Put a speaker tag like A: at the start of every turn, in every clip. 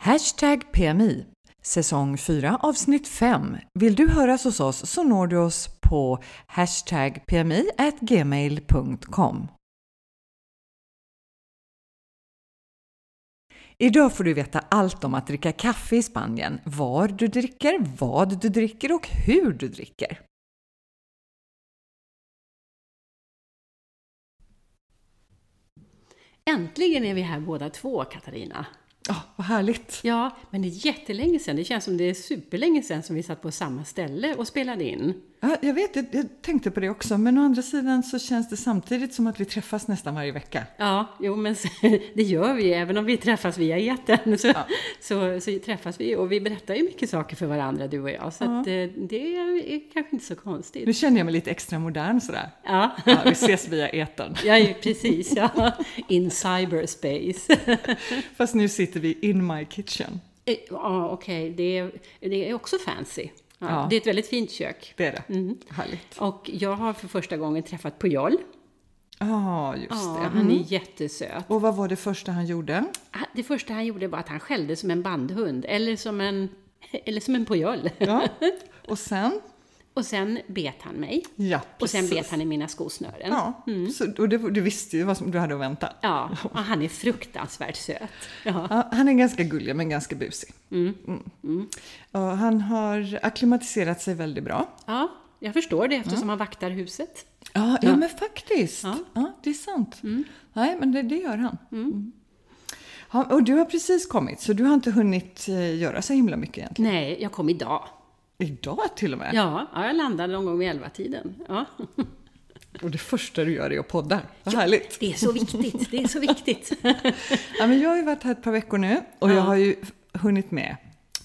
A: Hashtag PMI. Säsong 4 avsnitt 5. Vill du höras hos oss så når du oss på hashtag PMI gmail.com. Idag får du veta allt om att dricka kaffe i Spanien, var du dricker, vad du dricker och hur du dricker.
B: Äntligen är vi här båda två, Katarina.
A: Ja, vad härligt!
B: Ja, men det är jättelänge sedan. Det känns som det är superlänge sedan som vi satt på samma ställe och spelade in.
A: Ja, jag vet, jag, jag tänkte på det också, men å andra sidan så känns det samtidigt som att vi träffas nästan varje vecka.
B: Ja, jo men så- det gör vi ju. Även om vi träffas via etern så, så, så träffas vi och vi berättar ju mycket saker för varandra, du och jag. Så att, eh, det är kanske inte så
A: Nu
B: konstigt.
A: känner jag mig lite extra modern sådär.
B: Ja,
A: Ja, vi ses via etern.
B: ja ju precis. Ja. In cyberspace.
A: Fast nu sitter vi in my kitchen.
B: Eh, Ja, okej. Det, är- det är också fancy. Ja,
A: Ja.
B: Det är ett väldigt fint kök.
A: Det är det. Härligt.
B: Och jag har för första gången träffat Pujol.
A: Ja, just
B: Ja,
A: det.
B: han är jättesöt.
A: Och vad var det första han gjorde?
B: Han- Det första han gjorde var att han skällde som en bandhund, eller som en, eller som en pojoll.
A: Ja. Och sen?
B: Och sen bet han mig.
A: Ja,
B: Och sen
A: precis.
B: bet han i mina skosnören. Ja.
A: Ja, så, och det, du visste ju vad som du hade att vänta.
B: och han är fruktansvärt söt. Ja.
A: Ja, han är ganska gullig men ganska busig. Mm. Ja, han har akklimatiserat sig väldigt bra.
B: ja, jag förstår det eftersom han vaktar huset.
A: Ja, ja. men faktiskt. Ja. det är sant. Nej, men det, det gör han. Mm. Ja, och du har precis kommit, så du har inte hunnit eh, göra så himla mycket egentligen.
B: Nej, jag kom idag.
A: Idag till och med.
B: Ja, ja jag landade någon gång vid elva-tiden. Ja.
A: Och det första du gör är att podda. Vad härligt.
B: Det är så viktigt, det är så viktigt.
A: Ja, men jag har ju varit här ett par veckor nu och jag har ju hunnit med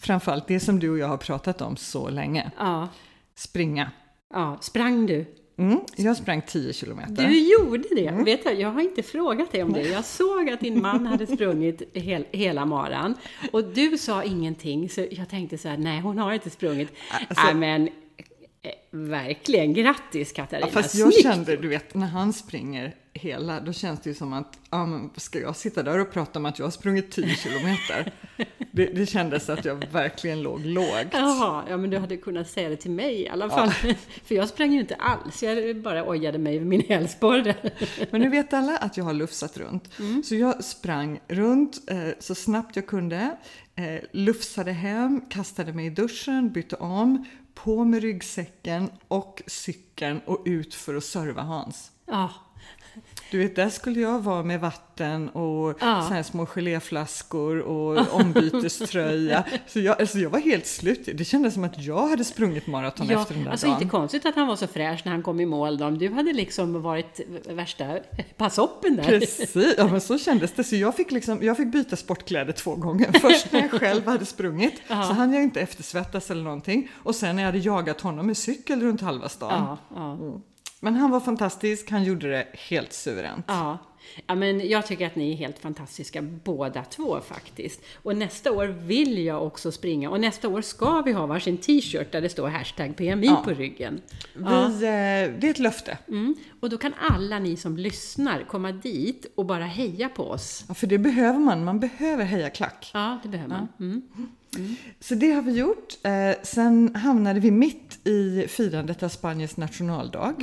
A: framförallt det som du och jag har pratat om så länge.
B: Ja,
A: Springa.
B: ja. sprang du?
A: Mm, jag sprang 10 kilometer.
B: Du gjorde det! Vet du, jag har inte frågat dig om det. Jag såg att din man hade sprungit hel, hela maran och du sa ingenting, så jag tänkte så här, nej hon har inte sprungit.
A: Alltså-
B: Nej men, eh, verkligen, grattis Katarina!
A: Ja, fast jag
B: Snyggt!
A: kände, du vet, när han springer hela, då känns det ju som att, ja men ska jag sitta där och prata om att jag har sprungit 10 kilometer? Det, det kändes att jag verkligen låg lågt.
B: Jaha, ja men du hade kunnat säga det till mig i alla fall. För jag sprang ju inte alls, jag bara ojade mig vid min hälsporre.
A: Men nu vet alla att jag har lufsat runt.
B: Mm.
A: Så jag sprang runt eh, så snabbt jag kunde, eh, lufsade hem, kastade mig i duschen, bytte om, på med ryggsäcken och cykeln och ut för att serva Hans.
B: Ja,
A: Du vet, där skulle jag vara med vatten och
B: Ja.
A: så här små geléflaskor och ombyteströja. så jag, alltså jag var helt slut. Det kändes som att jag hade sprungit maraton
B: ja
A: efter den där
B: alltså
A: dagen.
B: inte konstigt att han var så fräsch när han kom i mål då. Du hade liksom varit värsta passoppen där.
A: Precis, ja, men så kändes det. Så jag fick, liksom, jag fick byta sportkläder två gånger. Först när jag själv hade sprungit så hann jag inte eftersvettas eller någonting. Och sen när jag hade jagat honom med cykel runt halva stan.
B: Ja, ja.
A: Men han var fantastisk, han gjorde det helt suveränt.
B: Ja. ja, men jag tycker att ni är helt fantastiska båda två faktiskt. Och nästa år vill jag också springa och nästa år ska vi ha varsin t-shirt där det står hashtag PMI på ryggen.
A: Vi, eh, det är ett löfte.
B: Mm. Och då kan alla ni som lyssnar komma dit och bara heja på oss.
A: Ja, för det behöver man, man behöver heja klack.
B: Ja, det behöver man. Mm.
A: Så det har vi gjort. Eh, sen hamnade vi mitt i firandet av Spaniens nationaldag.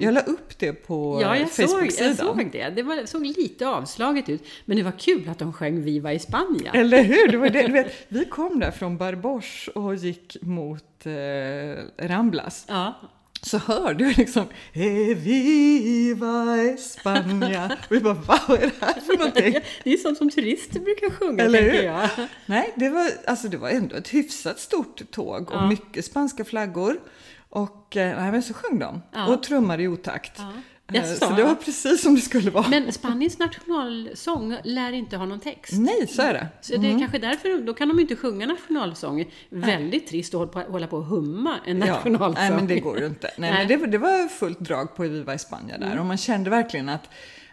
A: Jag la upp det på
B: Mm. Ja, jag såg,
A: Facebook-sidan.
B: jag såg det. Det var, såg lite avslaget ut. Men det var kul att de sjöng Viva i Spanien.
A: Eller hur? Det var det. Du vet, vi kom där från Barbors och gick mot eh, Ramblas.
B: Ja,
A: Så hör du liksom "Eh, Viva España. Och vi bara, "Va, vad är det här för någonting?
B: det är sånt som turister brukar sjunga,
A: Eller
B: tänker
A: hur?
B: jag.
A: Nej, det var, alltså, det var ändå ett hyfsat stort tåg och mycket spanska flaggor. Och eh, nej, men så sjöng de och trummade i otakt. Eh,
B: Jaså?
A: Så det var precis som det skulle vara.
B: Men Spaniens nationalsång lär inte ha någon text.
A: Nej, så är det.
B: Så det är kanske därför, då kan de inte sjunga nationalsången. Väldigt trist att hålla på, hålla på och humma en nationalsång.
A: nej, men det går ju inte. Nej,
B: Nej. Mm.
A: Men det, var- det var fullt drag på Viva i Spanien där och man kände verkligen att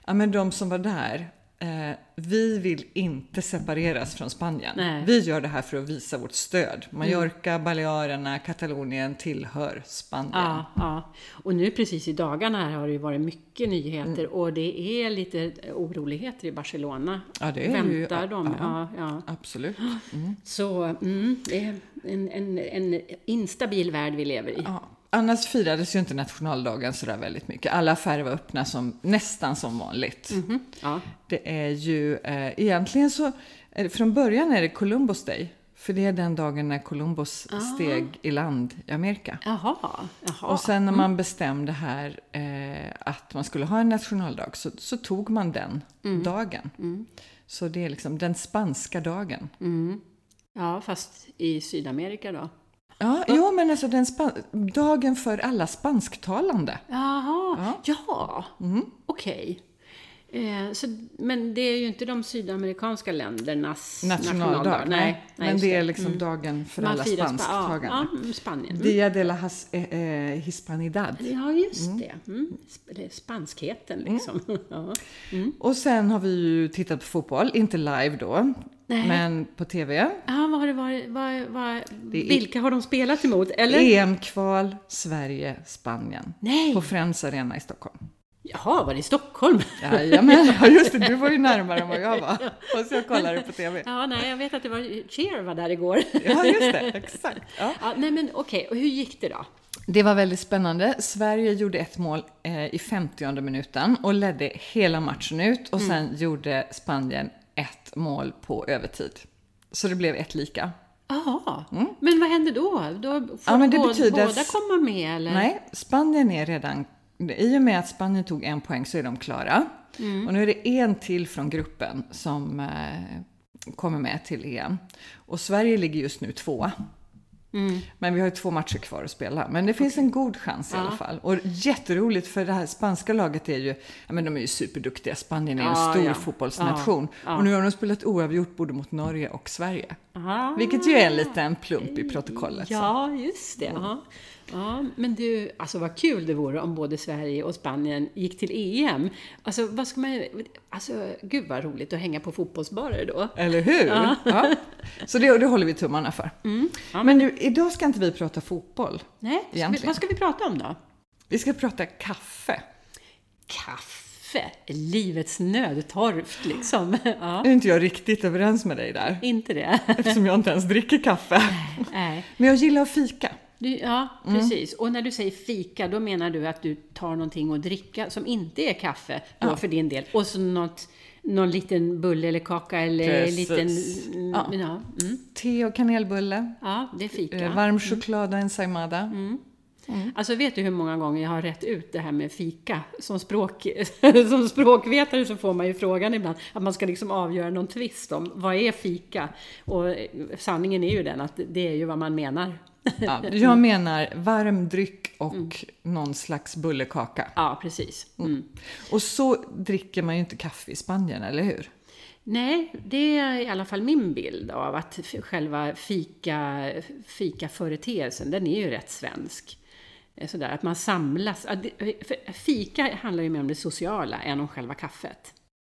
A: ja, men de som var där eh, vi vill inte separeras från Spanien.
B: Nej. Mm.
A: Vi gör det här för att visa vårt stöd. Mallorca, Balearerna, Katalonien tillhör Spanien.
B: Ja, ja. Och nu precis i dagarna här har det ju varit mycket nyheter
A: Mm.
B: och det är lite oroligheter i Barcelona.
A: Ja, det är
B: Väntar
A: ju-
B: de? Ja, ja.
A: Absolut.
B: Så mm, det är en, en, en instabil värld vi lever i.
A: Ja. Annars firades ju inte nationaldagen sådär väldigt mycket. Alla affärer var öppna som, nästan som vanligt.
B: Mm. Ja.
A: Det är ju eh, egentligen så, eh, från början är det Columbus Day. För det är den dagen när Columbus
B: Ah.
A: steg i land i Amerika.
B: Jaha, jaha.
A: Och sen när
B: mm.
A: man bestämde här eh, att man skulle ha en nationaldag så, så tog man den
B: Mm.
A: dagen. Så det är liksom den spanska dagen.
B: Mm. Ja, fast i Sydamerika då?
A: Ja, jo men alltså den span- dagen för alla spansktalande.
B: Jaha, ja. Mm. Okej. Eh, så, men det är ju inte de sydamerikanska ländernas
A: Nationaldag.
B: Nej, nej,
A: men
B: just Mm.
A: det är liksom dagen för
B: Man
A: alla
B: firar Spa-
A: spansktalande.
B: Ja, ja, mm, Spanien.
A: Dia de la has, eh, eh, Hispanidad.
B: Ja, just det. Mm. sp- eller Spanskheten liksom. Ja.
A: Och sen har vi ju tittat på fotboll, inte live då,
B: Nej.
A: men på TV.
B: Ja, vad har det varit? Vad, vad,
A: är-
B: vilka har de spelat emot? Eller?
A: EM-kval Sverige-Spanien.
B: Nej.
A: På Friends Arena i Stockholm.
B: Jaha, var det i Stockholm?
A: Jajamän, ja just det, du var ju närmare än vad jag var. Fast jag kollade på TV.
B: Ja, nej, jag vet att det var Cheer var där igår.
A: Ja, just det, exakt. Ja.
B: Ja, nej, men okej, och hur gick det då?
A: Det var väldigt spännande. Sverige gjorde ett mål eh, i 50 minuten och ledde hela matchen ut
B: Mm.
A: och sen gjorde Spanien ett mål på övertid. Så det blev ett lika.
B: Jaha, men vad hände då? Då får
A: Ja, men det
B: båda,
A: betyder-
B: båda komma med eller?
A: Nej, Spanien är redan... I och med att Spanien tog en poäng så är de klara.
B: Mm.
A: Och nu är det en till från gruppen som eh, kommer med till EM. Och Sverige ligger just nu tvåa.
B: Mm.
A: Men vi har ju två matcher kvar att spela. Men det finns en god chans i alla fall. Och jätteroligt för det här spanska laget är ju, ja men de är ju superduktiga. Spanien är ju en
B: Ja,
A: stor
B: ja.
A: fotbollsnation. Och nu har de spelat oavgjort både mot Norge och Sverige.
B: Aha.
A: Vilket ju liksom. är en liten plump i protokollet. så.
B: Ah. Ja, just
A: Mm.
B: det. Ja. Ja, men du, alltså vad kul det vore om både Sverige och Spanien gick till EM. Alltså, vad ska man, alltså gud vad roligt att hänga på fotbollsbarer då.
A: Eller hur? Ja. Så det, det håller vi tummarna för. Men du, idag ska inte vi prata fotboll.
B: Nej, ska vi,
A: Egentligen.
B: vad ska vi prata om då?
A: Vi ska prata kaffe.
B: Kaffe, livets nödtorft liksom. Ja,
A: Nu är inte jag riktigt överens med dig där,
B: inte det?
A: eftersom jag inte ens dricker kaffe.
B: Nej.
A: Men jag gillar att fika.
B: Du, ja, precis. Och när du säger fika, då menar du att du tar någonting att dricka som inte är kaffe då för din del. Och så något, någon liten bulle eller kaka eller
A: Precis.
B: liten...
A: Ja.
B: Ja. Ja, mm.
A: Te och kanelbulle,
B: ja, det är fika.
A: eh, varm choklad och ensaimada.
B: Alltså vet du hur många gånger jag har rätt ut det här med fika? Som, språk, som språkvetare så får man ju frågan ibland att man ska liksom avgöra någon tvist om vad är fika? Och eh, sanningen är ju den att det är ju vad man menar.
A: Ja, jag menar varm dryck och någon slags bullekaka.
B: Ja, precis. Mm.
A: Och så dricker man ju inte kaffe i Spanien, eller hur?
B: Nej, det är i alla fall min bild av att f- själva fika, fika-företeelsen, den är ju rätt svensk. Eh, Sådär, att man samlas. att det- eh, för Fika handlar ju mer om det sociala än om själva kaffet.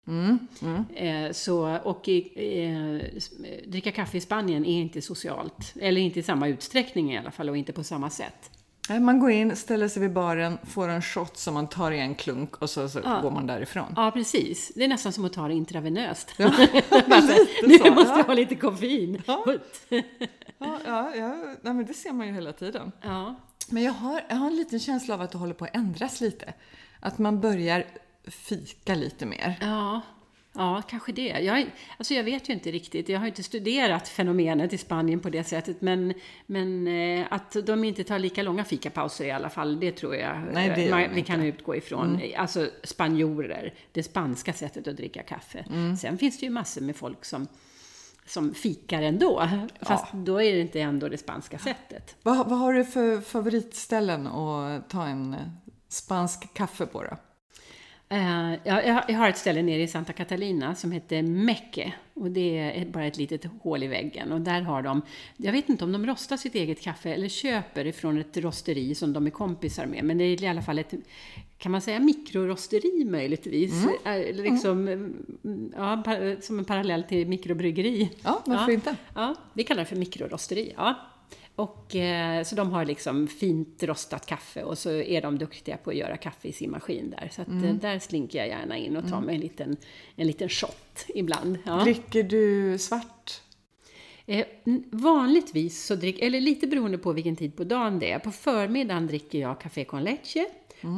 A: Mm,
B: Eh, Så, och i, eh, s- eh, dricka kaffe i Spanien är inte socialt, eller inte i samma utsträckning i alla fall, och inte på samma sätt.
A: Nej, Man går in, ställer sig vid baren, får en shot som man tar i en klunk och så, så går man därifrån.
B: Ja, precis. Det är nästan som att ta det intravenöst.
A: men lite
B: nu
A: så,
B: måste
A: ja.
B: jag ha lite koffein.
A: Ja, ja, ja nej, men det ser man ju hela tiden.
B: Ja.
A: Men jag har, jag har en liten känsla av att det håller på att ändras lite. Att man börjar fika lite mer.
B: Ja, ja kanske det. Jag, är- alltså jag vet ju inte riktigt. Jag har ju inte studerat fenomenet i Spanien på det sättet. Men, men eh, att de inte tar lika långa fikapauser i alla fall, det tror jag
A: Nej, det
B: eh,
A: gör
B: man,
A: de Mm.
B: vi kan utgå ifrån. Alltså spanjorer, det spanska sättet att dricka kaffe.
A: Mm.
B: Sen finns det ju massor med folk som som fikar ändå, fast då är det inte ändå det spanska sättet.
A: Vad, vad har du för favoritställen att ta en eh, spansk kaffe på då?
B: Eh, jag, jag- jag har ett ställe nere i Santa Catalina som heter Mecke. Och det är bara ett litet hål i väggen. Och där har de, jag vet inte om de rostar sitt eget kaffe eller köper ifrån ett rosteri som de är kompisar med. Men det är i alla fall ett, kan man säga mikrorosteri möjligtvis? Eh, Liksom, mm, ja, pa- som en parallell till mikrobryggeri.
A: Ja, varför inte?
B: Ja, vi kallar det för mikrorosteri. Ja. Och, eh, så de har liksom fint rostat kaffe och så är de duktiga på att göra kaffe i sin maskin där. Så att, eh, där slinker jag gärna in och tar mig en liten, en liten shot ibland. Ja.
A: Dricker du svart?
B: Eh, n- vanligtvis så dricker, eller lite beroende på vilken tid på dagen det är, på förmiddagen dricker jag café con leche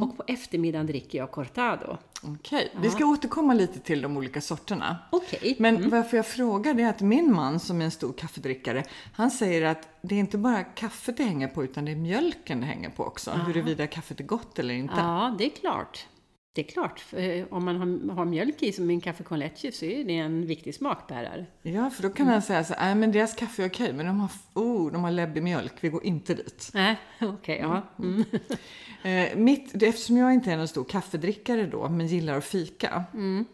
B: och på eftermiddagen dricker jag cortado.
A: Okej, vi ska återkomma lite till de olika sorterna.
B: Okej.
A: Men varför jag frågar det är att min man som är en stor kaffedrickare, han säger att det är inte bara kaffet det hänger på utan det är mjölken det hänger på också. Huruvida kaffet är gott eller inte.
B: Ja, det är klart. Det är klart. För, eh, Om man har, har mjölk i som i en café con leche så är det en viktig smakbärare.
A: Ja, för då kan
B: Mm.
A: han säga så här, "Nej, men deras kaffe är okej, men de har, oh, de har läbbig mjölk, vi går inte dit.
B: Nej, okej, ja. Mm.
A: Eh, mitt, eftersom jag inte är någon stor kaffedrickare då, men gillar att fika,
B: Mm.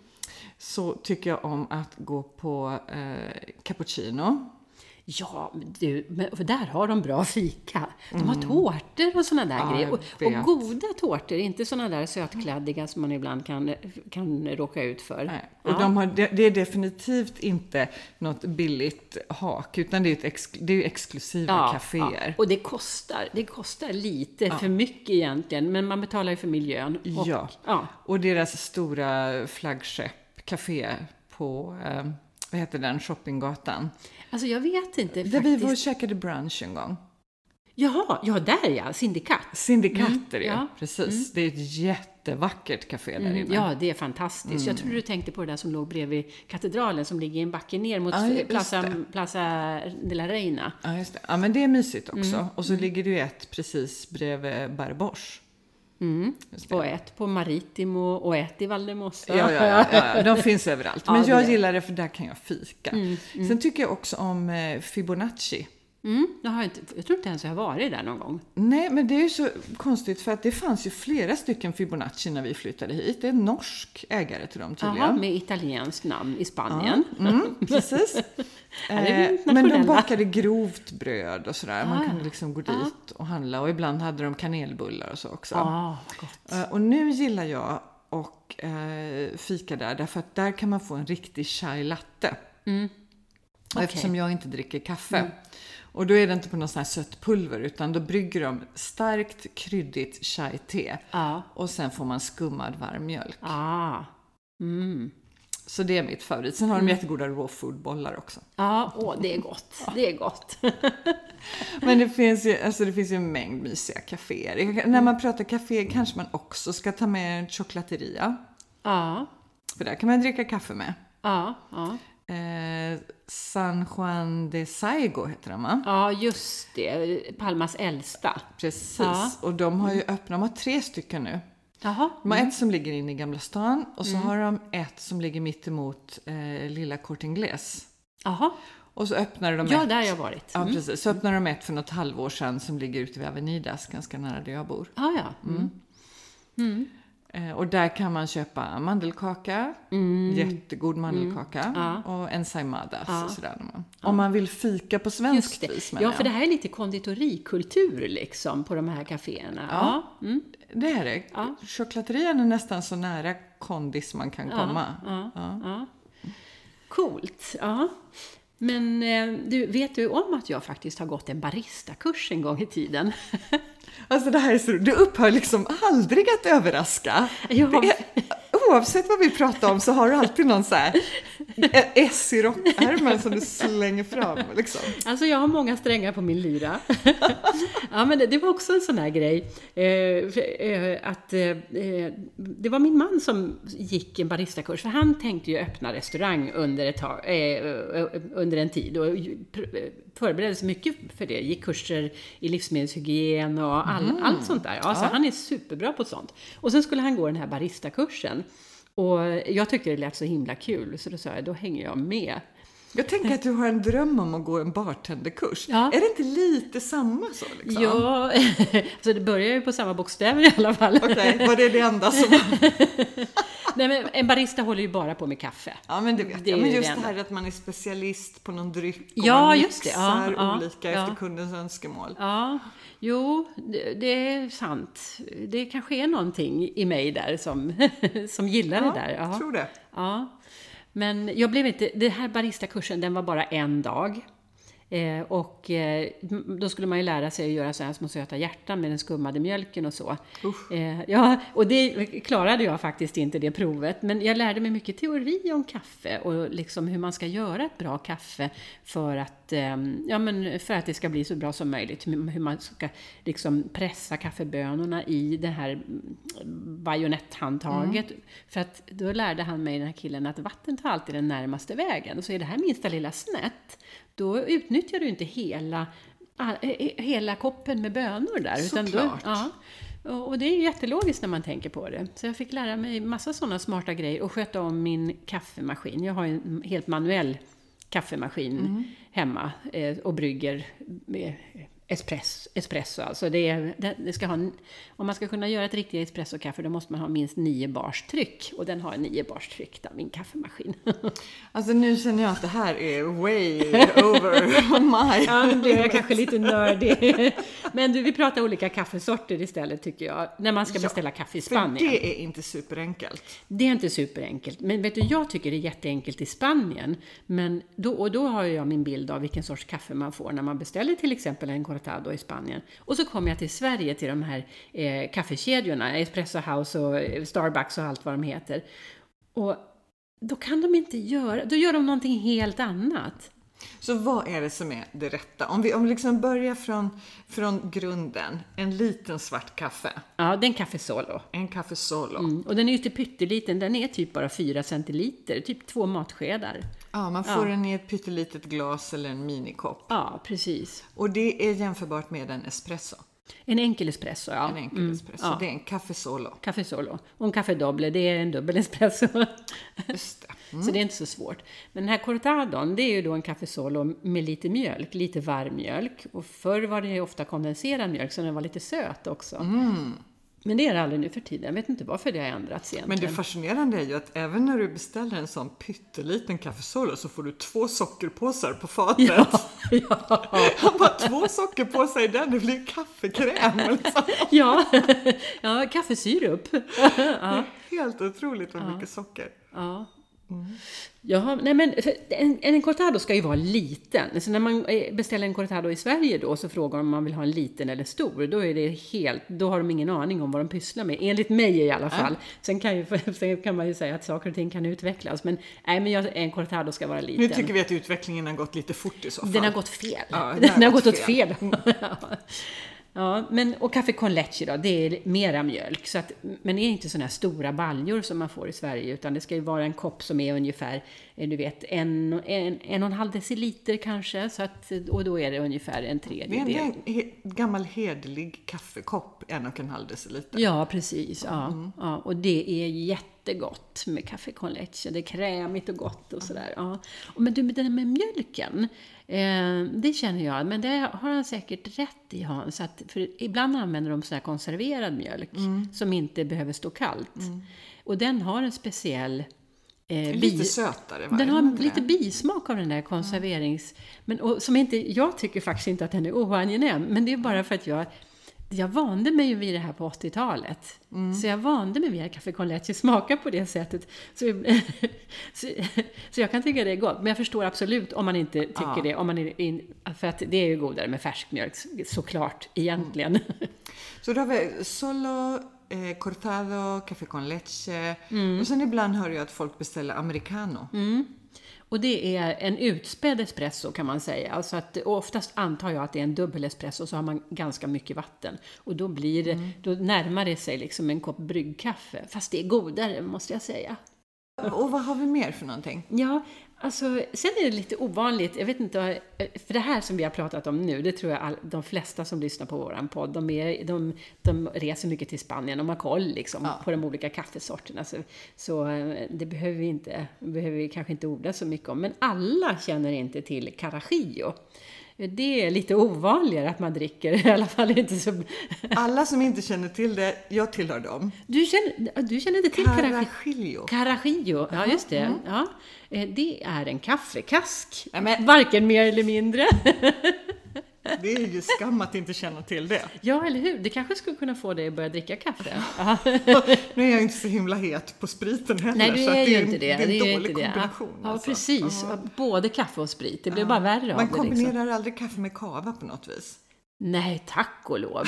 A: så tycker jag om att gå på eh, cappuccino.
B: Ja, men du, men för där har de bra fika. De har tårtor och såna där
A: Mm. Ja,
B: grejer. Och,
A: jag vet.
B: och goda tårtor, inte såna där sötkladdiga som man ibland kan, kan råka ut för.
A: Nej. Eh, Och
B: Ja.
A: de har, det det är definitivt inte något billigt hak, utan det är, ett ex, det är ju exklusiva kaféer.
B: Och det kostar, det kostar lite för mycket egentligen, men man betalar ju för miljön. Och,
A: Ja.
B: ja.
A: Och deras stora flaggskepp, café på, eh, vad heter den, Shoppinggatan.
B: Alltså jag vet inte
A: Där vi
B: faktiskt.
A: var och käkade brunch en gång.
B: Jaha, ja där ja, syndikat.
A: Syndikater är det,
B: Mm, ja. Mm.
A: precis. Det är ett jättevackert café där inne.
B: Ja, det är fantastiskt. Jag trodde du tänkte på det där som låg bredvid katedralen som ligger i en backe ner mot
A: Ja,
B: eh,
A: just
B: Plaza,
A: det.
B: Plaza de la Reina.
A: Ja, just det. Ja, men det är mysigt
B: Mm.
A: också. Och så ligger det ju ett precis bredvid Barbors.
B: Och ett på Maritimo och ett i Valdemossa.
A: Ja, ja, ja, ja, de finns överallt. Men
B: Ja, det
A: jag
B: gör.
A: gillar det för där kan jag fika. Sen tycker jag också om eh, Fibonacci.
B: Mm, jag, har jag inte, jag tror inte ens jag har varit där någon gång.
A: Nej, men det är ju så konstigt för att det fanns ju flera stycken Fibonacci när vi flyttade hit. Det är en norsk ägare till dem tydligen.
B: Jaha, med italienskt namn i Spanien.
A: Mm, precis.
B: är vi
A: Eh, Men de
B: internationella.
A: bakade grovt bröd och sådär. Man kunde liksom gå dit och handla och ibland hade de kanelbullar och så också.
B: Ah, gott.
A: Eh, Och nu gillar jag och eh, fika där därför att där kan man få en riktig chai latte. Och Eftersom jag inte dricker kaffe. Och då är det inte på något sånt här sött pulver utan då brygger de starkt kryddigt chai-te.
B: Ja.
A: Och sen får man skummad varm mjölk.
B: Ah. Mm.
A: Så det är mitt favorit. Sen har de jättegoda raw food-bollar också.
B: Ja, åh, det är gott. Det är gott.
A: Men det finns ju, alltså det finns ju en mängd mysiga kaféer. Jag kan- När man pratar kafé kanske man också ska ta med en chocolateria.
B: Ja,
A: För där kan man dricka kaffe med.
B: ja, ja.
A: Eh, San Juan de Saigo heter den va?
B: Ja, just det. Palmas äldsta.
A: Precis.
B: Ja. Mm.
A: Och de har ju öppnat, de har tre stycken nu.
B: Jaha.
A: De har ett som ligger inne i Gamla stan och
B: Mm.
A: så har de ett som ligger mittemot eh, Lilla Corte Inglés.
B: Jaha.
A: Och så öppnade de
B: Ja, mm.
A: ett.
B: där har jag varit.
A: Ja, precis. Så öppnade de ett för något halvår sedan som ligger ute vid Avenidas, ganska nära där jag bor.
B: Ah, ja. Mm.
A: Eh, och där kan man köpa mandelkaka,
B: Mm.
A: jättegod mandelkaka och ensaimadas och sådär. när man- Om man vill fika på
B: Just
A: svenskt
B: det.
A: vis menar
B: Ja, för
A: jag.
B: det här är lite konditorikultur liksom på de här kaféerna. Ja. Mm.
A: Det är det. Choklaterian är nästan så nära kondis man kan komma.
B: Ja. Ja. Coolt. Ja. Men eh, du, vet du om att jag faktiskt har gått en baristakurs en gång i tiden?
A: Alltså det här är så, du upphör liksom aldrig att överraska.
B: Ja.
A: Det är, oavsett vad vi pratar om så har du alltid någon så här ett S i rockärmen som du slänger fram. Liksom.
B: Alltså jag har många strängar på min lyra. ja, men det, det var också en sån här grej. Eh, för, eh, att, eh, eh, det var min man som gick en baristakurs, för han tänkte ju öppna restaurang under, ett tag, eh, eh, under en tid och ju- pr- eh, förberedde sig mycket för det. Gick kurser i livsmedelshygien och all, allt sånt där. Ja, Så han är superbra på sånt. Och sen skulle han gå den här baristakursen. Och jag tyckte det lät så himla kul, så då sa jag, då hänger jag med.
A: Jag tänker att du har en dröm om att gå en bartenderkurs.
B: Ja.
A: Är det inte lite samma så? Liksom?
B: Ja, alltså det börjar ju på samma bokstäver i alla fall.
A: Okej, var det det enda som...
B: Nej, men en barista håller ju bara på med kaffe.
A: Ja, men det vet
B: Det är
A: jag. Men
B: ju
A: just
B: det
A: det här att man är specialist på någon dryck och
B: Ja,
A: man
B: just det. Ja,
A: mixar
B: ja,
A: olika
B: ja.
A: efter kundens önskemål.
B: Ja, jo, det, det är sant. Det kanske är någonting i mig där som, som gillar det där. Ja.
A: tror det.
B: Ja. Men jag blev inte, den här baristakursen den var bara en dag. Eh, och eh, m- då skulle man ju lära sig att göra så här små söta hjärtan med den skummade mjölken och så. Eh, ja, och det klarade jag faktiskt inte det provet. Men jag lärde mig mycket teori om kaffe och liksom hur man ska göra ett bra kaffe för att, ehm, ja, men för att det ska bli så bra som möjligt. Hur hur man ska liksom pressa kaffebönorna i det här mm, bajonetthandtaget. För att då lärde han mig, den här killen, att vatten tar alltid den närmaste vägen. Så är det här minsta lilla snett, då utnyttjar du inte hela, all, eh, eh, hela koppen med bönor där. då,
A: Såklart.
B: ja. Och och det är ju jättelogiskt när man tänker på det. Så jag fick lära mig massa sådana smarta grejer och sköta om min kaffemaskin. Jag har ju en helt manuell kaffemaskin hemma eh, och brygger med espress, espresso. Alltså det, är- det, det ska ha, en- om man ska kunna göra ett riktigt espressokaffe då måste man ha minst 9 bars tryck. Och den har 9 bars tryck, där, min kaffemaskin.
A: Alltså nu känner jag att det här är way over my...
B: Ja, nu blev jag kanske lite nördig. Men du, vi pratar olika kaffesorter istället tycker jag, när man ska beställa kaffe i
A: För
B: Spanien.
A: det är inte superenkelt.
B: Det är inte superenkelt, men vet du, jag tycker det är jätteenkelt i Spanien. Men då, och då har jag min bild av vilken sorts kaffe man får när man beställer till exempel en cortado i Spanien. Och så kommer jag till Sverige till de här eh, kaffekedjorna, Espresso House och eh, Starbucks och allt vad de heter. Och då kan de inte göra, då gör de någonting helt annat.
A: Så vad är det som är det rätta? Om vi, om vi liksom börjar från, från grunden. En liten svart kaffe.
B: Ja, det är en kaffe solo.
A: En kaffe solo.
B: Mm. Och den är ju inte pytteliten, den är typ bara 4 centiliter, typ två matskedar.
A: Ja, man får den i ett pyttelitet glas eller en minikopp.
B: Ja, precis.
A: Och det är jämförbart med en espresso.
B: En enkel espresso, Mm, ja.
A: En enkel espresso. Det är en kaffe solo.
B: Café Solo. Och en Café Doble, det är en dubbel espresso.
A: Just det.
B: Så det är inte så svårt. Men den här Cortadon, det är ju då en Café Solo med lite mjölk, lite varm mjölk. Och förr var det ju ofta kondenserad mjölk, så den var lite söt också. Men det är det aldrig nu för tiden. Jag vet inte varför det har ändrats
A: Men
B: egentligen.
A: det fascinerande är ju att även när du beställer en sån pytteliten kaffe solo så får du två sockerpåsar på fatet.
B: ja.
A: Han bara, två sockerpåsar i den, det blir kaffekräm. Liksom.
B: ja. ja, kaffesyrup. ja.
A: Helt otroligt vad mycket socker.
B: Ja. Jaha, nej men för en, en cortado ska ju vara liten. Så när man eh, beställer en cortado i Sverige då så frågar de om man vill ha en liten eller stor. Då, är det helt, då har de ingen aning om vad de pysslar med. Enligt mig i alla fall. Sen, kan ju, sen kan man ju säga att saker och ting kan utvecklas. Men, nej, men jag, en cortado ska vara
A: Nu
B: liten.
A: tycker vi att utvecklingen har gått lite fort i så fall.
B: Den har gått fel.
A: Ja,
B: den, har gått åt fel. ja, men, och kaffe con leche då, det är mera mjölk. Så att, men det är inte sådana här stora baljor som man får i Sverige, utan det ska ju vara en kopp som är ungefär, eh, du vet, en, en, en och en halv deciliter kanske. Så att, och då är det ungefär en
A: Det är
B: tredjedel.
A: en he- gammal hederlig kaffekopp, en och en halv deciliter.
B: Ja, precis. Ja, ja, och det är jättegott med kaffe con leche. Det är krämigt och gott och sådär. Ja. Och Men du, det där med mjölken, eh, det känner jag, men det har han säkert rätt i Hans. Att, för ibland använder de sån här konserverad mälk som inte behöver stå kallt. Och den har en speciell eh,
A: Lite
B: bi-
A: sötare va?
B: den
A: Är
B: har
A: inte
B: lite
A: det?
B: bismak av den där konserverings... Men, och, som inte, jag tycker faktiskt inte att den är oangenäm, men det är bara för att jag, jag vande mig ju vid det här på 80-talet. Så jag vande mig vid att kaffe con leche smakar på det sättet. Så, så, så jag kan tycka det är gott, men jag förstår absolut om man inte tycker det. Om man är in, för att det är ju godare med färskmjölk, såklart, egentligen.
A: Så då har vi solo, eh, cortado, café con leche
B: Mm.
A: och sen ibland hör jag att folk beställer americano.
B: Och det är en utspädd espresso kan man säga. Alltså att, och oftast antar jag att det är en dubbel espresso så har man ganska mycket vatten. Och då, blir det, då närmar det sig liksom en kopp bryggkaffe. Fast det är godare måste jag säga.
A: Och vad har vi mer för någonting?
B: Ja, Alltså, sen är det lite ovanligt, jag vet inte, eh, för det här som vi har pratat om nu, det tror jag all, de flesta som lyssnar på våran podd, de, är, de, de reser mycket till Spanien och har koll liksom,
A: Ja.
B: på de olika kaffesorterna. Så, så eh, det behöver vi, inte, behöver vi kanske inte orda så mycket om. Men alla känner inte till Carajillo. Det är lite ovanligare att man dricker, i alla fall inte så...
A: Alla som inte känner till det, jag tillhör dem.
B: Du känner, du känner inte till Carajillo?
A: Carajillo.
B: Carajillo, ja just det. Ja. Eh, Det är en kaffekask.
A: Ja, men-
B: Varken mer eller mindre.
A: Det är ju skam att inte känna till det.
B: Ja, eller hur? Det kanske skulle kunna få dig att börja dricka kaffe.
A: Nu är jag inte så himla het på spriten heller.
B: Nej, du
A: så att
B: är
A: det
B: ju
A: en-
B: inte det.
A: Det är en
B: ju
A: dålig
B: inte det.
A: kombination.
B: Ja,
A: alltså.
B: precis. Både kaffe och sprit. Det blir bara värre
A: Man
B: av det. Liksom.
A: kombinerar aldrig kaffe med kava på något vis.
B: Nej, tack och lov.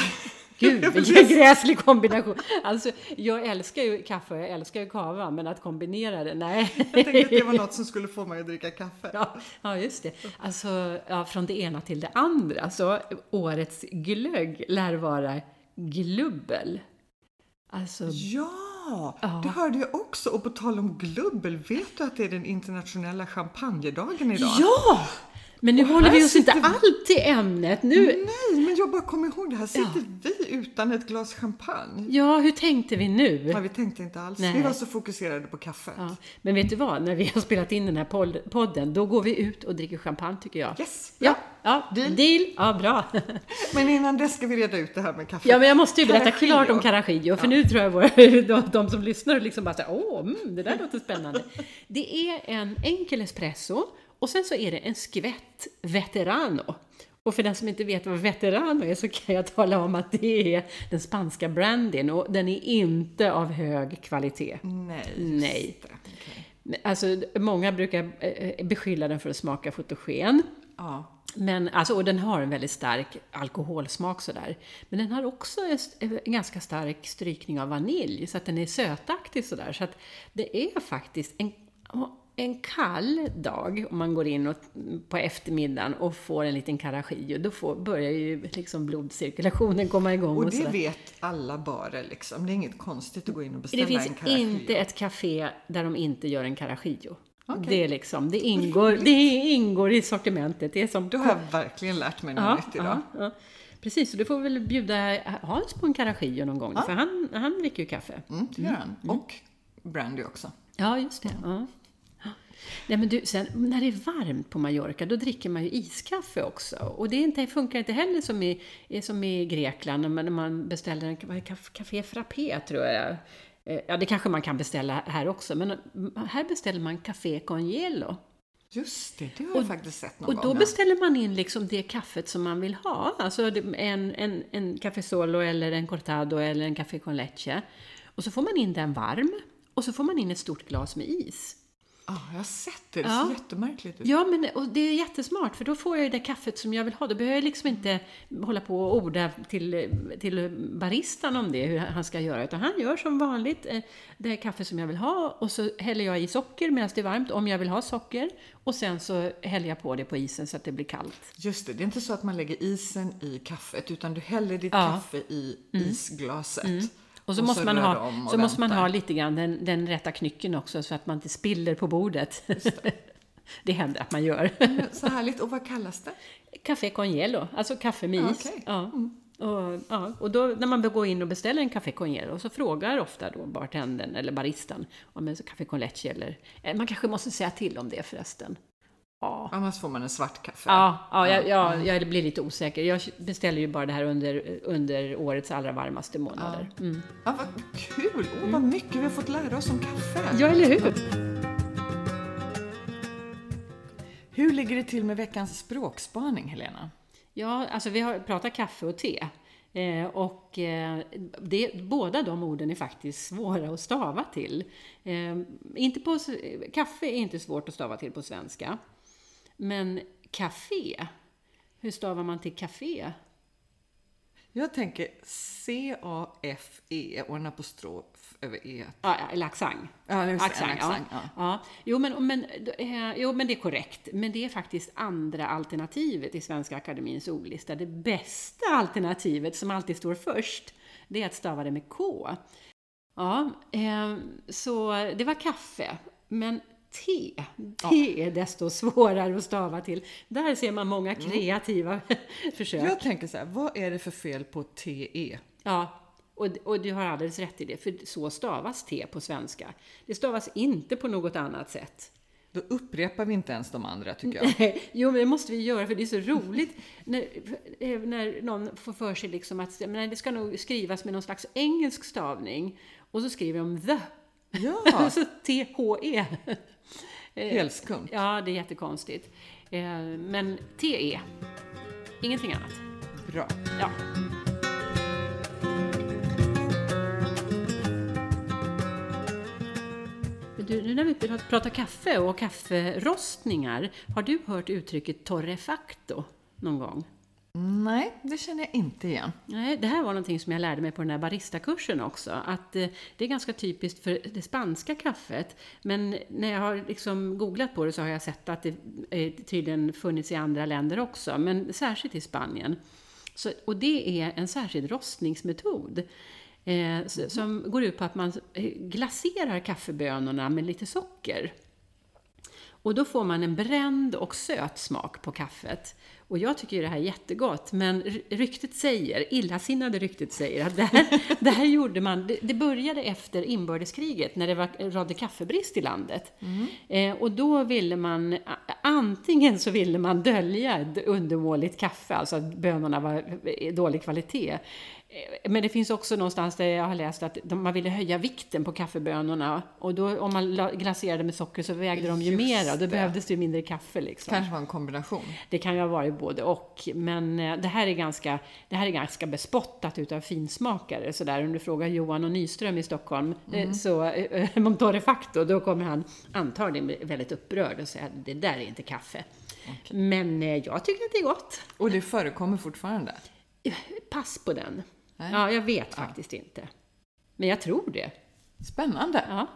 B: Gud, vilken gräslig kombination. Alltså, jag älskar ju kaffe och jag älskar ju kava, men att kombinera det, nej.
A: Jag tänkte att det var något som skulle få mig att dricka kaffe.
B: Ja, ja, just det. Alltså, ja, från det ena till det andra. Så årets glögg lär vara glubbel. Alltså,
A: Ja, det hörde jag också. Och på tal om glubbel, vet du att det är den internationella champagnedagen idag?
B: ja! Men nu håller
A: här
B: vi Mm. oss inte
A: sitter
B: allt i ämnet. Nu,
A: Nej, men jag bara kom ihåg det. Här sitter vi utan ett glas champagne.
B: ja, hur tänkte vi nu?
A: Ja, vi tänkte inte alls.
B: Nej.
A: Vi var så fokuserade på kaffet.
B: Ja, men vet du vad? När vi har spelat in den här poll- podden, då går vi ut och dricker champagne tycker jag.
A: Yes!
B: Ja, ja, deal. Ja, bra.
A: Men innan det ska vi reda ut det här med kaffe.
B: Ja, men jag måste ju berätta
A: Carajillo.
B: klart om Carajillo, för nu tror jag våra, de, de som lyssnar liksom bara så här, åh, mm, det där låter spännande. Det är en enkel espresso och sen så är det en skvätt veterano. Och för den som inte vet vad veterano är så kan jag tala om att det är den spanska brandyn och den är inte av hög kvalitet.
A: Nej. just
B: Nej.
A: det. Okej.
B: Alltså, många brukar eh, beskylla den för att smaka fotogen.
A: Ja.
B: Men, alltså, och den har en väldigt stark alkoholsmak sådär. Men den har också en, st- eh, en ganska stark strykning av vanilj, så att den är sötaktig sådär. Så att det är faktiskt en, en kall dag, om man går in och, mm, på eftermiddagen och får en liten karagi, och då får, börjar ju liksom blodcirkulationen komma igång.
A: Och
B: och
A: det
B: sådär.
A: vet alla barer liksom. Det är inget konstigt att gå in och beställa
B: Det finns
A: en Carajillo.
B: inte ett café där de inte gör en carajillo. Det, är liksom, det, ingår, det ingår i sortimentet. Det är som
A: Då har jag verkligen lärt mig något nytt idag.
B: ja, ja. Precis, så du får väl bjuda Hans på en carajillo någon gång, för han, han dricker ju kaffe.
A: Mm, det gör han. Och brandy också.
B: Ja, just det. Ja. Nej, men du, sen, när det är varmt på Mallorca, då dricker man ju iskaffe också. Och det är inte, funkar inte heller som i, är som i Grekland, när man, när man beställer en vad är kaf- café frappé, tror jag. Eh, Ja, det kanske man kan beställa här också, men mm, här beställer man café con gelo.
A: Just det, det har jag faktiskt sett någon
B: Och då
A: gång.
B: beställer man in liksom det kaffet som man vill ha. Alltså det- en, en, en Café Solo eller en Cortado eller en Café con Leche. Och så får man in den varm. Och så får man in ett stort glas med is.
A: Ja, jag har sett det. Det
B: Ja.
A: ser jättemärkligt ut.
B: Ja, men och det är jättesmart för då får jag ju det kaffet som jag vill ha. Då behöver jag liksom inte hålla på och orda till, till baristan om det, hur han ska göra. Utan han gör som vanligt eh, det kaffe som jag vill ha och så häller jag i socker medan det är varmt, om jag vill ha socker. Och sen så häller jag på det på isen så att det blir kallt.
A: Just det, det är inte så att man lägger isen i kaffet utan du häller ditt
B: Ja. Mm.
A: kaffe i isglaset.
B: Och så, måste, man
A: rör
B: ha,
A: du om och
B: så måste man
A: väntar.
B: ha lite grann den, den rätta knycken också så att man inte spiller på bordet. Det. händer att man gör.
A: Så härligt. Och vad kallas det?
B: Café con gelo, alltså kaffe med is.
A: Ah, Okej. Mm.
B: Ja. Och, ja. och då när man går in och beställer en café con gelo så frågar ofta då bartendern eller baristan om en café con leche eller... eh, Man kanske måste säga till om det förresten. Ja.
A: Annars får man en svart kaffe.
B: Ja, ja, jag, jag, jag blir lite osäker. Jag beställer ju bara det här under, under årets allra varmaste månader. Mm.
A: Ja, vad kul! Åh, vad mycket vi har fått lära oss om kaffe.
B: Ja, eller hur?
A: Hur ligger det till med veckans språkspaning, Helena?
B: Ja, alltså vi har pratat kaffe och te. Eh, och eh, det, båda de orden är faktiskt svåra att stava till. Eh, inte på, s- eh, kaffe är inte svårt att stava till på svenska. Men café, hur stavar man till café?
A: Jag tänker C-A-F-E E, och en apostrof över E.
B: Ja, eller accent.
A: Ja, just det, en
B: Accent,
A: accent,
B: ja.
A: ja.
B: Ja. Jo, men, men, eh, jo, men det är korrekt. Men det är faktiskt andra alternativet i Svenska Akademiens ordlista. Det bästa alternativet, som alltid står först, det är att stava det med K. Ja, eh, så det var kaffe. Men T. T är desto svårare att stava till. Där ser man många kreativa försök.
A: Jag tänker så här, vad är det för fel på E? TE?
B: Ja, och, och du har alldeles rätt i det, för så stavas T på svenska. Det stavas inte på något annat sätt.
A: Då upprepar vi inte ens de andra tycker jag.
B: Jo, men det måste vi göra för det är så roligt när, eh, när någon får för sig liksom att men det ska nog skrivas med någon slags engelsk stavning och så skriver de the.
A: Ja,
B: så T-H-E. Eh,
A: helt skumt.
B: Ja, det är jättekonstigt. Eh, Men TE, ingenting annat.
A: Bra.
B: Ja. Du, nu när vi pr- pratar kaffe och kafferostningar, har du hört uttrycket torrefacto någon gång?
A: Nej, det känner jag inte igen.
B: Nej, det här var någonting som jag lärde mig på den här baristakursen också, att eh, det är ganska typiskt för det spanska kaffet. Men när jag har liksom googlat på det så har jag sett att det eh, tydligen funnits i andra länder också, men särskilt i Spanien. Så, och det är en särskild rostningsmetod eh, s- som går ut på att man eh, glaserar kaffebönorna med lite socker. Och då får man en bränd och söt smak på kaffet. Och jag tycker ju det här är jättegott, men ry- ryktet säger, illasinnade ryktet säger att det här, det här gjorde man, det, det började efter inbördeskriget när det var, rådde kaffebrist i landet. Eh, och då ville man, a- antingen så ville man dölja ett undermåligt kaffe, alltså att bönorna var eh, dålig kvalitet. Eh, Men det finns också någonstans där jag har läst att de- man ville höja vikten på kaffebönorna och då om man la- glaserade med socker så vägde de ju
A: Just
B: mer och då
A: det.
B: behövdes det ju mindre kaffe liksom.
A: Kanske var en kombination.
B: Det kan ju ha varit både och, men eh, det här är ganska, det här är ganska bespottat utav finsmakare. Så där, om du frågar Johan och Nyström i Stockholm eh, så, eh, om torrefacto, då kommer han antagligen bli väldigt upprörd och säga att det där är inte kaffe. Men eh, jag tycker att det är gott.
A: Och det förekommer fortfarande.
B: Pass på den.
A: Nej.
B: Ja, jag vet faktiskt inte. Men jag tror det.
A: Spännande.
B: Ja.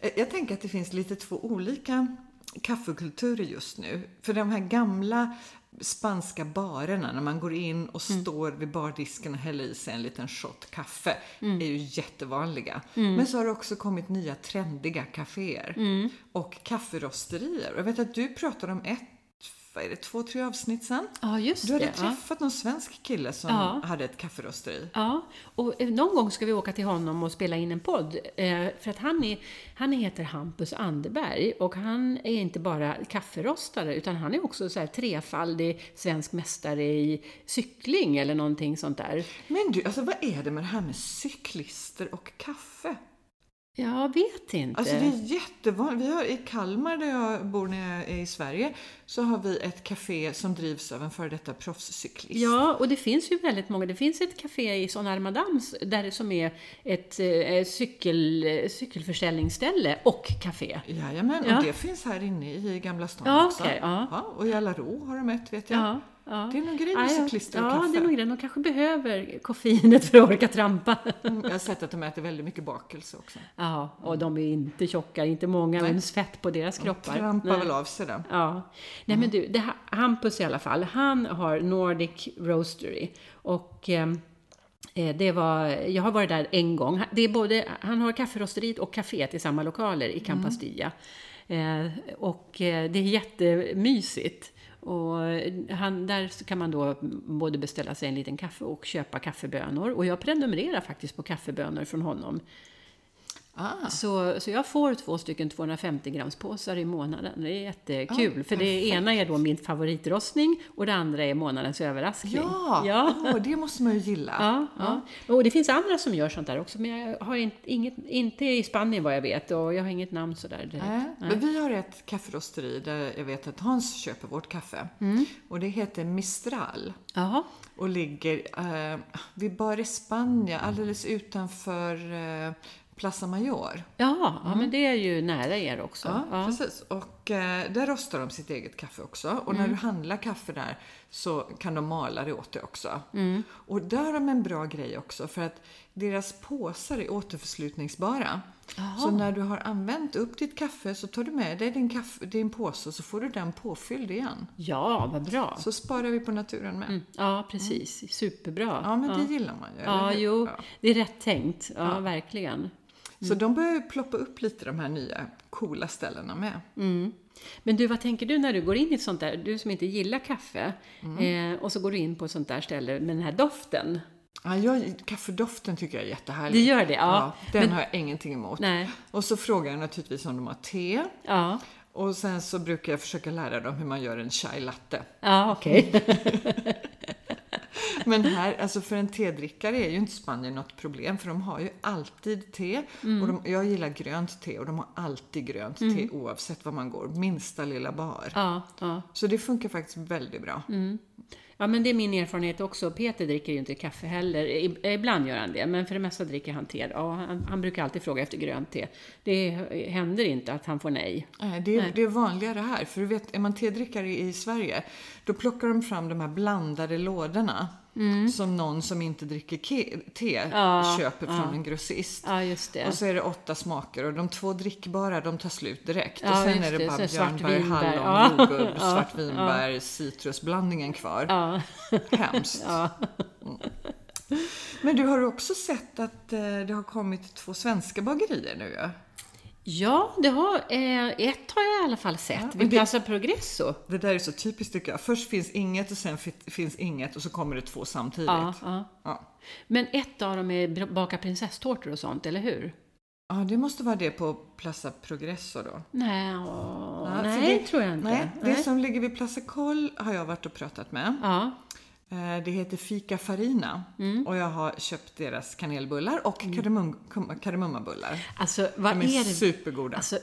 A: Eh, Jag tänker att det finns lite två olika kaffekulturer just nu. För de här gamla spanska barerna, när man går in och
B: Mm.
A: står vid bardisken och häller i sig en liten shot kaffe,
B: Mm.
A: är ju jättevanliga. Men så har det också kommit nya trendiga kaféer
B: Mm.
A: och kafferosterier. Jag vet att du pratade om ett, vad är det, två, tre avsnitt sen?
B: ja, just
A: Du hade
B: det. ja.
A: träffat någon svensk kille som
B: Ja.
A: hade ett kafferosteri.
B: Ja, och eh, någon gång ska vi åka till honom och spela in en podd. eh, För att han, är, han heter Hampus Anderberg och han är inte bara kafferostare utan han är också så här trefaldig svensk mästare i cykling eller någonting sånt där.
A: Men du, alltså vad är det med det här med cyklister och kaffe?
B: Jag vet inte.
A: Alltså det är jättevanligt. Vi har i Kalmar där jag bor när jag är i Sverige så har vi ett café som drivs av en före detta proffscyklist.
B: Ja, och det finns ju väldigt många. Det finns ett café i Son Armadams där det som är ett eh, cykel, eh, cykelförsäljningsställe och café.
A: Jajamän,
B: Ja.
A: och det finns här inne i Gamla stan
B: Ja,
A: också.
B: okej, ja.
A: och i Alarå har de ett vet jag.
B: Ja, ja.
A: Det är någon grej med
B: Ah, Ja, ja.
A: cyklister och
B: Ja,
A: kaffe.
B: det är nog det. De kanske behöver koffeinet för att orka trampa.
A: Mm, Jag har sett att de äter väldigt mycket bakelse också.
B: Ja, och de är inte tjocka, inte många uns fett på deras kroppar.
A: Trampar
B: Nej.
A: väl av sig den.
B: Ja. Nej men du, det, här- Hampus i alla fall, han har Nordic Roastery. Och ehm, eh, det var, jag har varit där en gång. Han- Det är både, han har kafferosteriet och kaféet i samma lokaler i Campastilla. Eh, och eh, det är jättemysigt. Och eh, han, där så kan man då både beställa sig en liten kaffe och köpa kaffebönor. Och jag prenumererar faktiskt på kaffebönor från honom.
A: Ah,
B: Så, så jag får två stycken 250 grams påsar i månaden. Det är jättekul.
A: Ja,
B: för det ena är då min favoritrostning och det andra är månadens överraskning.
A: ja,
B: Ja.
A: Åh, det måste man ju gilla.
B: Ja, ja. Och det finns andra som gör sånt där också, men jag har inte, inget, inte i Spanien vad jag vet och jag har inget namn sådär direkt.
A: Nej, Eh, Men vi har ett kafferosteri där jag vet att Hans köper vårt kaffe.
B: Mm.
A: Och det heter Mistral.
B: Jaha.
A: och ligger eh, vid Bar España alldeles utanför eh, Plaza Mayor.
B: Ja, ja, men det är ju nära er också.
A: Ja,
B: Ja.
A: precis. Och eh, där rostar de sitt eget kaffe också. Och när du handlar kaffe där så kan de mala det åt dig också. Och där har de en bra grej också för att deras påsar är återförslutningsbara. Så när du har använt upp ditt kaffe så tar du med dig din, kaffe, din påse och så får du den påfylld igen.
B: ja, Mm. vad bra.
A: Så sparar vi på naturen med.
B: Ja, precis. Superbra.
A: Ja, men det gillar man ju. eller
B: Ja,
A: hur?
B: jo,
A: Ja.
B: det är rätt tänkt. Ja, verkligen.
A: Så de börjar ju ploppa upp lite de här nya coola ställena med.
B: Men du, vad tänker du när du går in i ett sånt där, du som inte gillar kaffe, eh, och så går du in på ett sånt där ställe med den här doften?
A: Ja, jag, kaffedoften tycker jag är jättehärlig.
B: Det gör det, ja.
A: den
B: Men-
A: har jag ingenting emot.
B: Nej.
A: Och så frågar jag naturligtvis om de har te.
B: Ja,
A: Och sen så brukar jag försöka lära dem hur man gör en chai latte.
B: ja okej.
A: Men här, alltså för en tedrickare är ju inte Spanien något problem för de har ju alltid te.
B: Mm.
A: Och de, jag gillar grönt te och de har alltid grönt te oavsett var man går. Minsta lilla bar.
B: Ja, ja.
A: Så det funkar faktiskt väldigt bra.
B: ja, men det är min erfarenhet också. Peter dricker ju inte kaffe heller. I- Ibland gör han det, men för det mesta dricker han te. Ja, han, han brukar alltid fråga efter grönt te. Det händer inte att han får nej.
A: Nej, det, är, det är vanligare här. För du vet, är man tedrickare i Sverige, då plockar de fram de här blandade lådorna.
B: Mm.
A: Som någon som inte dricker ke- te köper från en grossist.
B: Ja, just det.
A: Och så är det åtta smaker och de två drickbara de tar slut direkt.
B: Ja,
A: och sen
B: just
A: är det
B: det.
A: bara
B: Så
A: björnbär,
B: svartvinbär.
A: hallon,
B: Ja.
A: jordgubb, svartvinbär, citrusblandningen kvar.
B: Ja.
A: Hemskt. Mm. Men du har ju också sett att eh, det har kommit två svenska bagerier nu ja?
B: Ja, det har, eh, ett har jag i alla fall sett.
A: men
B: Vid
A: det-
B: Plaza Progresso.
A: Det där är så typiskt tycker jag. Först finns inget och sen fi- finns inget och så kommer det två samtidigt.
B: Ja, ja.
A: Ja.
B: Men ett av dem är br- baka prinsesstårtor och sånt, eller hur?
A: Ja, det måste vara det på Plaza Progresso då.
B: Nej, åh,
A: Ja, för
B: nej tror jag inte.
A: Nej, det
B: Nej.
A: som ligger vid Plaza Koll har jag varit och pratat med.
B: Ja,
A: Eh, Det heter Fika Farina
B: Mm.
A: och jag har köpt deras kanelbullar och kardemum, kum- kardemummabullar.
B: alltså Mm. vad
A: De
B: är
A: är
B: det?
A: supergoda.
B: Alltså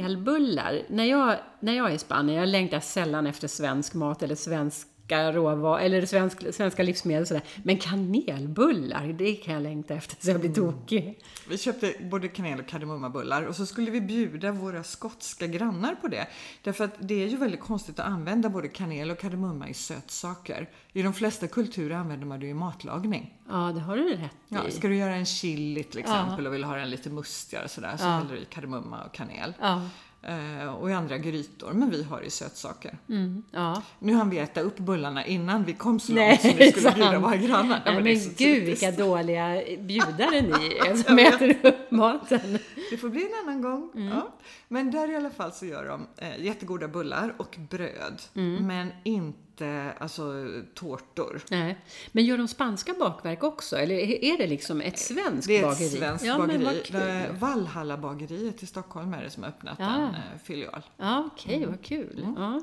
B: kanelbullar. När jag, när jag är i Spanien, jag längtar sällan efter svensk mat eller svenska råvaror eller svensk, svenska livsmedel och sådär. Men kanelbullar, det kan jag längta efter så jag blir
A: Mm.
B: tokig.
A: Vi köpte både kanel och kardemummabullar och så skulle vi bjuda våra skotska grannar på det. Därför att det är ju väldigt konstigt att använda både kanel och kardemumma i sötsaker. I de flesta kulturer använder man det ju i matlagning.
B: Ja, det har du rätt
A: Ja,
B: i.
A: ska du göra en chili till exempel och vill ha den lite mustigare sådär så häller du i kardemumma och kanel.
B: Ja,
A: Eh, och i andra grytor, men vi har i sötsaker.
B: mm, ja.
A: Nu hann vi äta upp bullarna innan vi kom så
B: Nej,
A: långt som vi skulle
B: sant.
A: bjuda våra grannar.
B: Nej, men
A: det är så
B: gud
A: typiskt.
B: vilka dåliga bjudare ni är som äter upp maten.
A: Det får bli en annan gång.
B: Mm.
A: Ja. Men där i alla fall så gör de eh, jättegoda bullar och bröd.
B: Mm.
A: Men inte alltså, tårtor.
B: Nej. Men gör de spanska bakverk också? Eller är det liksom ett svenskt
A: Det är ett
B: bageri?
A: svenskt
B: ja, Men
A: bageri.
B: vad
A: Det är
B: kul.
A: Valhalla bageriet i Stockholm är det som har öppnat
B: Ja.
A: en eh, filial.
B: Ja, okej,
A: Mm.
B: vad kul. Ja.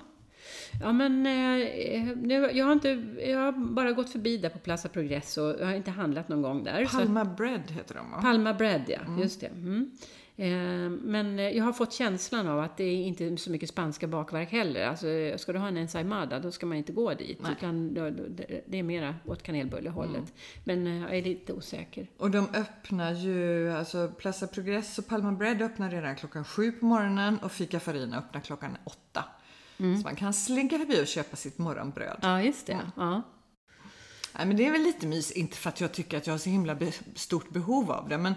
B: Ja, men eh, nu, jag, har inte, jag har bara gått förbi där på Plaza Progresso. Jag har inte handlat någon gång där. så-
A: Palma Bread heter de va?
B: Palma Bread, ja. Just det. Mm. Eh, Men eh, jag har fått känslan av att det är inte så mycket spanska bakverk heller. Alltså, eh, ska du ha en ensaimada, då ska man inte gå dit. Utan då- då- det- det är mera åt kanelbullehållet.
A: Mm.
B: Men eh, jag är lite osäker.
A: Och de öppnar ju, alltså Plaza Progress och Palma Bread öppnar redan klockan sju på morgonen och Fika Farina öppnar klockan åtta.
B: Mm.
A: Så man kan slinka förbi och köpa sitt morgonbröd.
B: Ja, just det. Ja.
A: Nej, men det är väl lite mys, inte för att jag tycker att jag har så himla be- stort behov av det, men,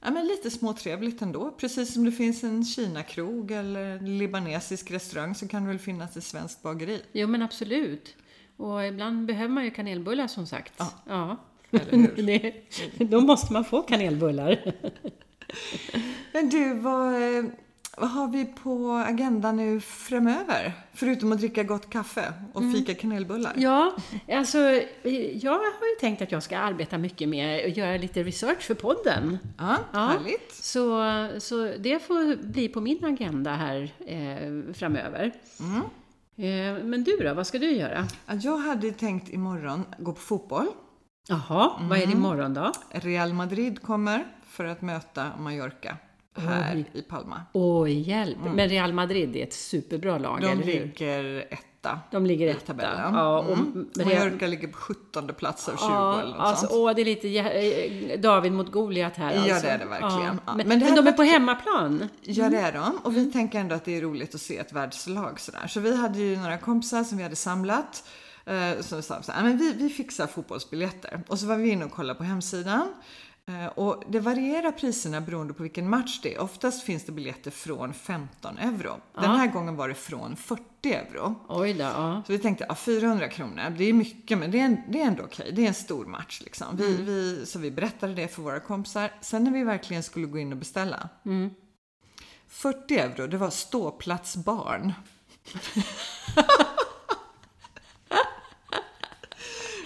A: ja, men lite småtrevligt ändå. Precis som det finns en Kina-krog eller en libanesisk restaurang så kan det väl finnas ett svenskt bageri.
B: Jo, men absolut. Och ibland behöver man ju kanelbullar som sagt. Ja.
A: Eller hur?
B: Det, då måste man få kanelbullar.
A: Men du, vad, eh, vad har vi på agendan nu framöver? Förutom att dricka gott kaffe och fika kanelbullar.
B: Ja, alltså jag har ju tänkt att jag ska arbeta mycket med att göra lite research för podden.
A: Ja,
B: Ja.
A: härligt.
B: Så, så det får bli på min agenda här eh, framöver. Eh, men du då, vad ska du göra?
A: Ja, Jag hade tänkt imorgon gå på fotboll.
B: Jaha, vad är det imorgon då?
A: Real Madrid kommer för att möta Mallorca här i Palma.
B: Åh, hjälp! Men Real Madrid är ett superbra lag,
A: De
B: eller hur?
A: ligger etta.
B: De ligger
A: i
B: etta.
A: tabellen.
B: Ja, och
A: mm.
B: Real-
A: Mallorca ligger på 17 plats av 20
B: Ja,
A: eller något
B: alltså,
A: sånt.
B: åh, det är lite jä- eh, David mot Goliat här
A: Ja,
B: alltså.
A: det är det verkligen. Ja,
B: Men,
A: men
B: men,
A: det hade
B: de är
A: varit
B: på hemmaplan.
A: Ja, det är de. Och vi tänker ändå att det är roligt att se ett världslag sådär. Så vi hade ju några kompisar som vi hade samlat. Eh, som sa såhär, "Ja, men vi, vi fixar fotbollsbiljetter. Och så var vi inne och kollade på hemsidan. Eh, Och det varierar priserna beroende på vilken match det är. Oftast finns det biljetter från 15 euro. Den här gången var det från 40 euro.
B: Oj då, ja.
A: Så vi tänkte, ja, 400 kronor, det är mycket men det är, det är ändå okej. Det är en stor match liksom. Vi,
B: Mm.
A: vi, så vi berättade det för våra kompisar. Sen när vi verkligen skulle gå in och beställa.
B: Mm.
A: 40 euro, det var ståplats barn.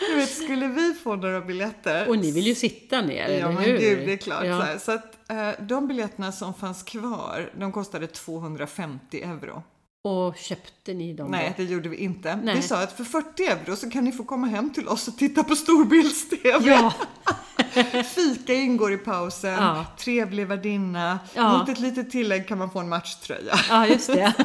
A: du vet, skulle vi få några biljetter
B: Och ni vill ju sitta ner,
A: Ja
B: eller
A: men
B: hur?
A: gud, det är klart.
B: Ja.
A: Så, här. så att eh, de biljetterna som fanns kvar, de kostade 250 euro.
B: Och köpte ni dem
A: Nej,
B: då?
A: det gjorde vi inte.
B: Nej.
A: Vi sa att för 40 euro så kan ni få komma hem till oss och titta på storbilds-TV.
B: Ja,
A: Fika ingår i pausen,
B: Ja.
A: trevlig värdinna.
B: Ja.
A: Mot ett litet tillägg kan man få en matchtröja.
B: ja, just det.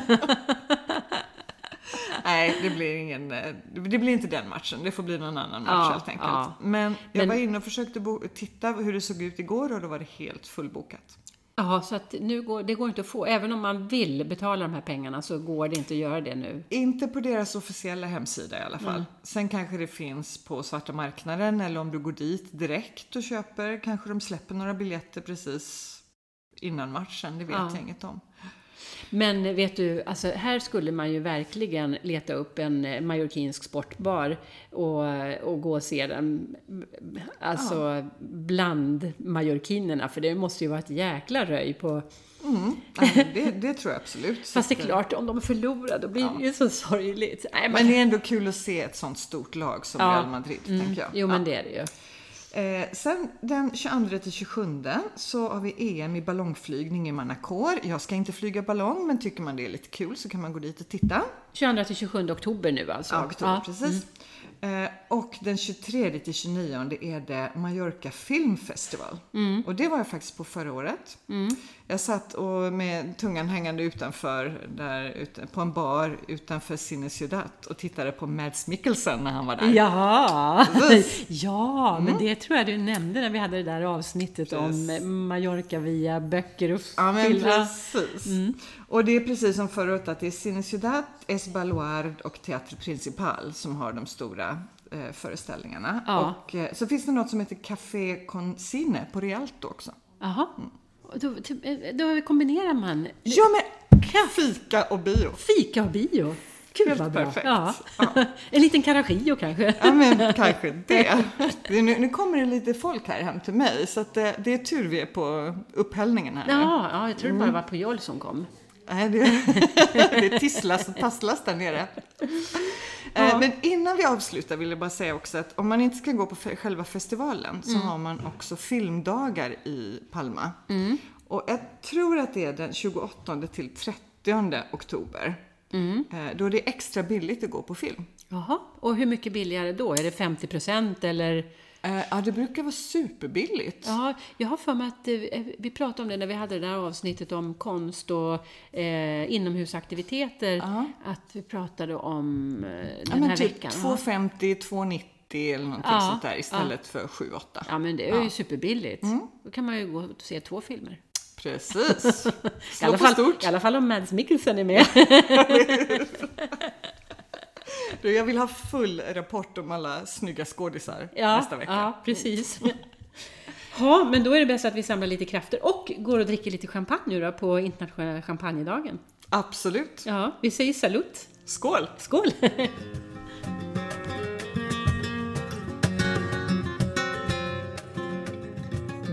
A: Nej, det blir, ingen, eh, det blir inte den matchen. Det får bli någon annan match
B: Ja,
A: helt enkelt.
B: ja.
A: Men jag
B: Men-
A: var inne och försökte bo- titta hur det såg ut igår och då var det helt fullbokat.
B: Ja, så att nu går, det går inte att få. Även om man vill betala de här pengarna så går det inte att göra det nu.
A: Inte på deras officiella hemsida i alla
B: Mm.
A: fall. Sen kanske det finns på svarta marknaden eller om du går dit direkt och köper kanske de släpper några biljetter precis innan matchen. Det vet
B: Ja.
A: jag inget om.
B: Men vet du, alltså här skulle man ju verkligen leta upp en eh, majorkinsk sportbar och, och gå och se den. Alltså bland majorkinerna, för det måste ju vara ett jäkla röj på...
A: Mm. Nej, det, det tror jag absolut.
B: Fast det är klart, om de förlorar då blir det ju så sorgligt. Nej,
A: Men
B: men,
A: det är ändå kul att se ett sånt stort lag som
B: Ja. Mm.
A: Real Madrid, tänker jag.
B: jo, men det är det ju.
A: Eh, sen den 22 till 27 så har vi EM i ballongflygning i Manacor. Jag ska inte flyga ballong, men tycker man det är lite kul så kan man gå dit och titta.
B: 22 till 27 oktober nu alltså.
A: Ja, oktober,
B: Ja.
A: precis. Eh, och den 23 till 29 är det Mallorca Film Festival. Och det var jag faktiskt på förra året. Jag satt och med tungan hängande utanför, där, ute, på en bar utanför Cine Ciudad och tittade på Mads Mikkelsen när han var där.
B: Ja,
A: Precis.
B: ja
A: Mm.
B: men det tror jag du nämnde när vi hade det där avsnittet om Mallorca via böcker och
A: Ja men
B: film.
A: precis. Och det är precis som förra året att det är Cine Ciudad, Es Baluard och Teatro Principal som har de stora eh, föreställningarna.
B: Ja.
A: Och eh, så finns det något som heter Café Con Cine på Rialto också.
B: Jaha. Och Då, typ, eh, då kombinerar man
A: Ja men fika och bio.
B: fika och bio. Gud
A: Helt
B: vad bra.
A: perfekt.
B: Ja. en liten karagio kanske.
A: Ja men kanske det. det nu, nu kommer det lite folk här hem till mig så att, eh, det är tur vi är på upphällningen här. nu.
B: Ja, Mm. ja jag trodde bara det var Pujol som kom.
A: Nej, det, det tisslas och tasslas där nere. Eh, Men innan vi avslutar vill jag bara säga också att om man inte ska gå på fe- själva festivalen
B: Mm.
A: så har man också filmdagar i Palma.
B: Mm.
A: Och jag tror att det är den 28 till 30 oktober.
B: Mm.
A: Eh, Då är det extra billigt att gå på film.
B: Jaha. Och hur mycket billigare då? Är det 50 procent eller?
A: Eh, Ja, det brukar vara superbilligt.
B: Ja, jag har för mig att eh, vi pratade om det när vi hade det där avsnittet om konst och eh, inomhusaktiviteter. Att vi pratade om eh, den
A: Ja, men
B: här
A: typ
B: veckan.
A: 250, 290 eller någonting
B: Ja,
A: sånt där istället för 7-8.
B: Ja, Mm. men det är ju superbilligt. Då kan man ju gå och se två filmer.
A: Precis.
B: I
A: Slå
B: alla,
A: på
B: fall,
A: stort.
B: I alla fall om Mads Mikkelsen är med.
A: Du, jag vill ha full rapport om alla snygga skådisar nästa vecka. Mm.
B: Ja, precis. Ja, men då är det bäst att vi samlar lite krafter och går och dricker lite champagne nu då på internationella champagnedagen.
A: Absolut.
B: Ja, vi säger salut.
A: Skål!
B: Skål!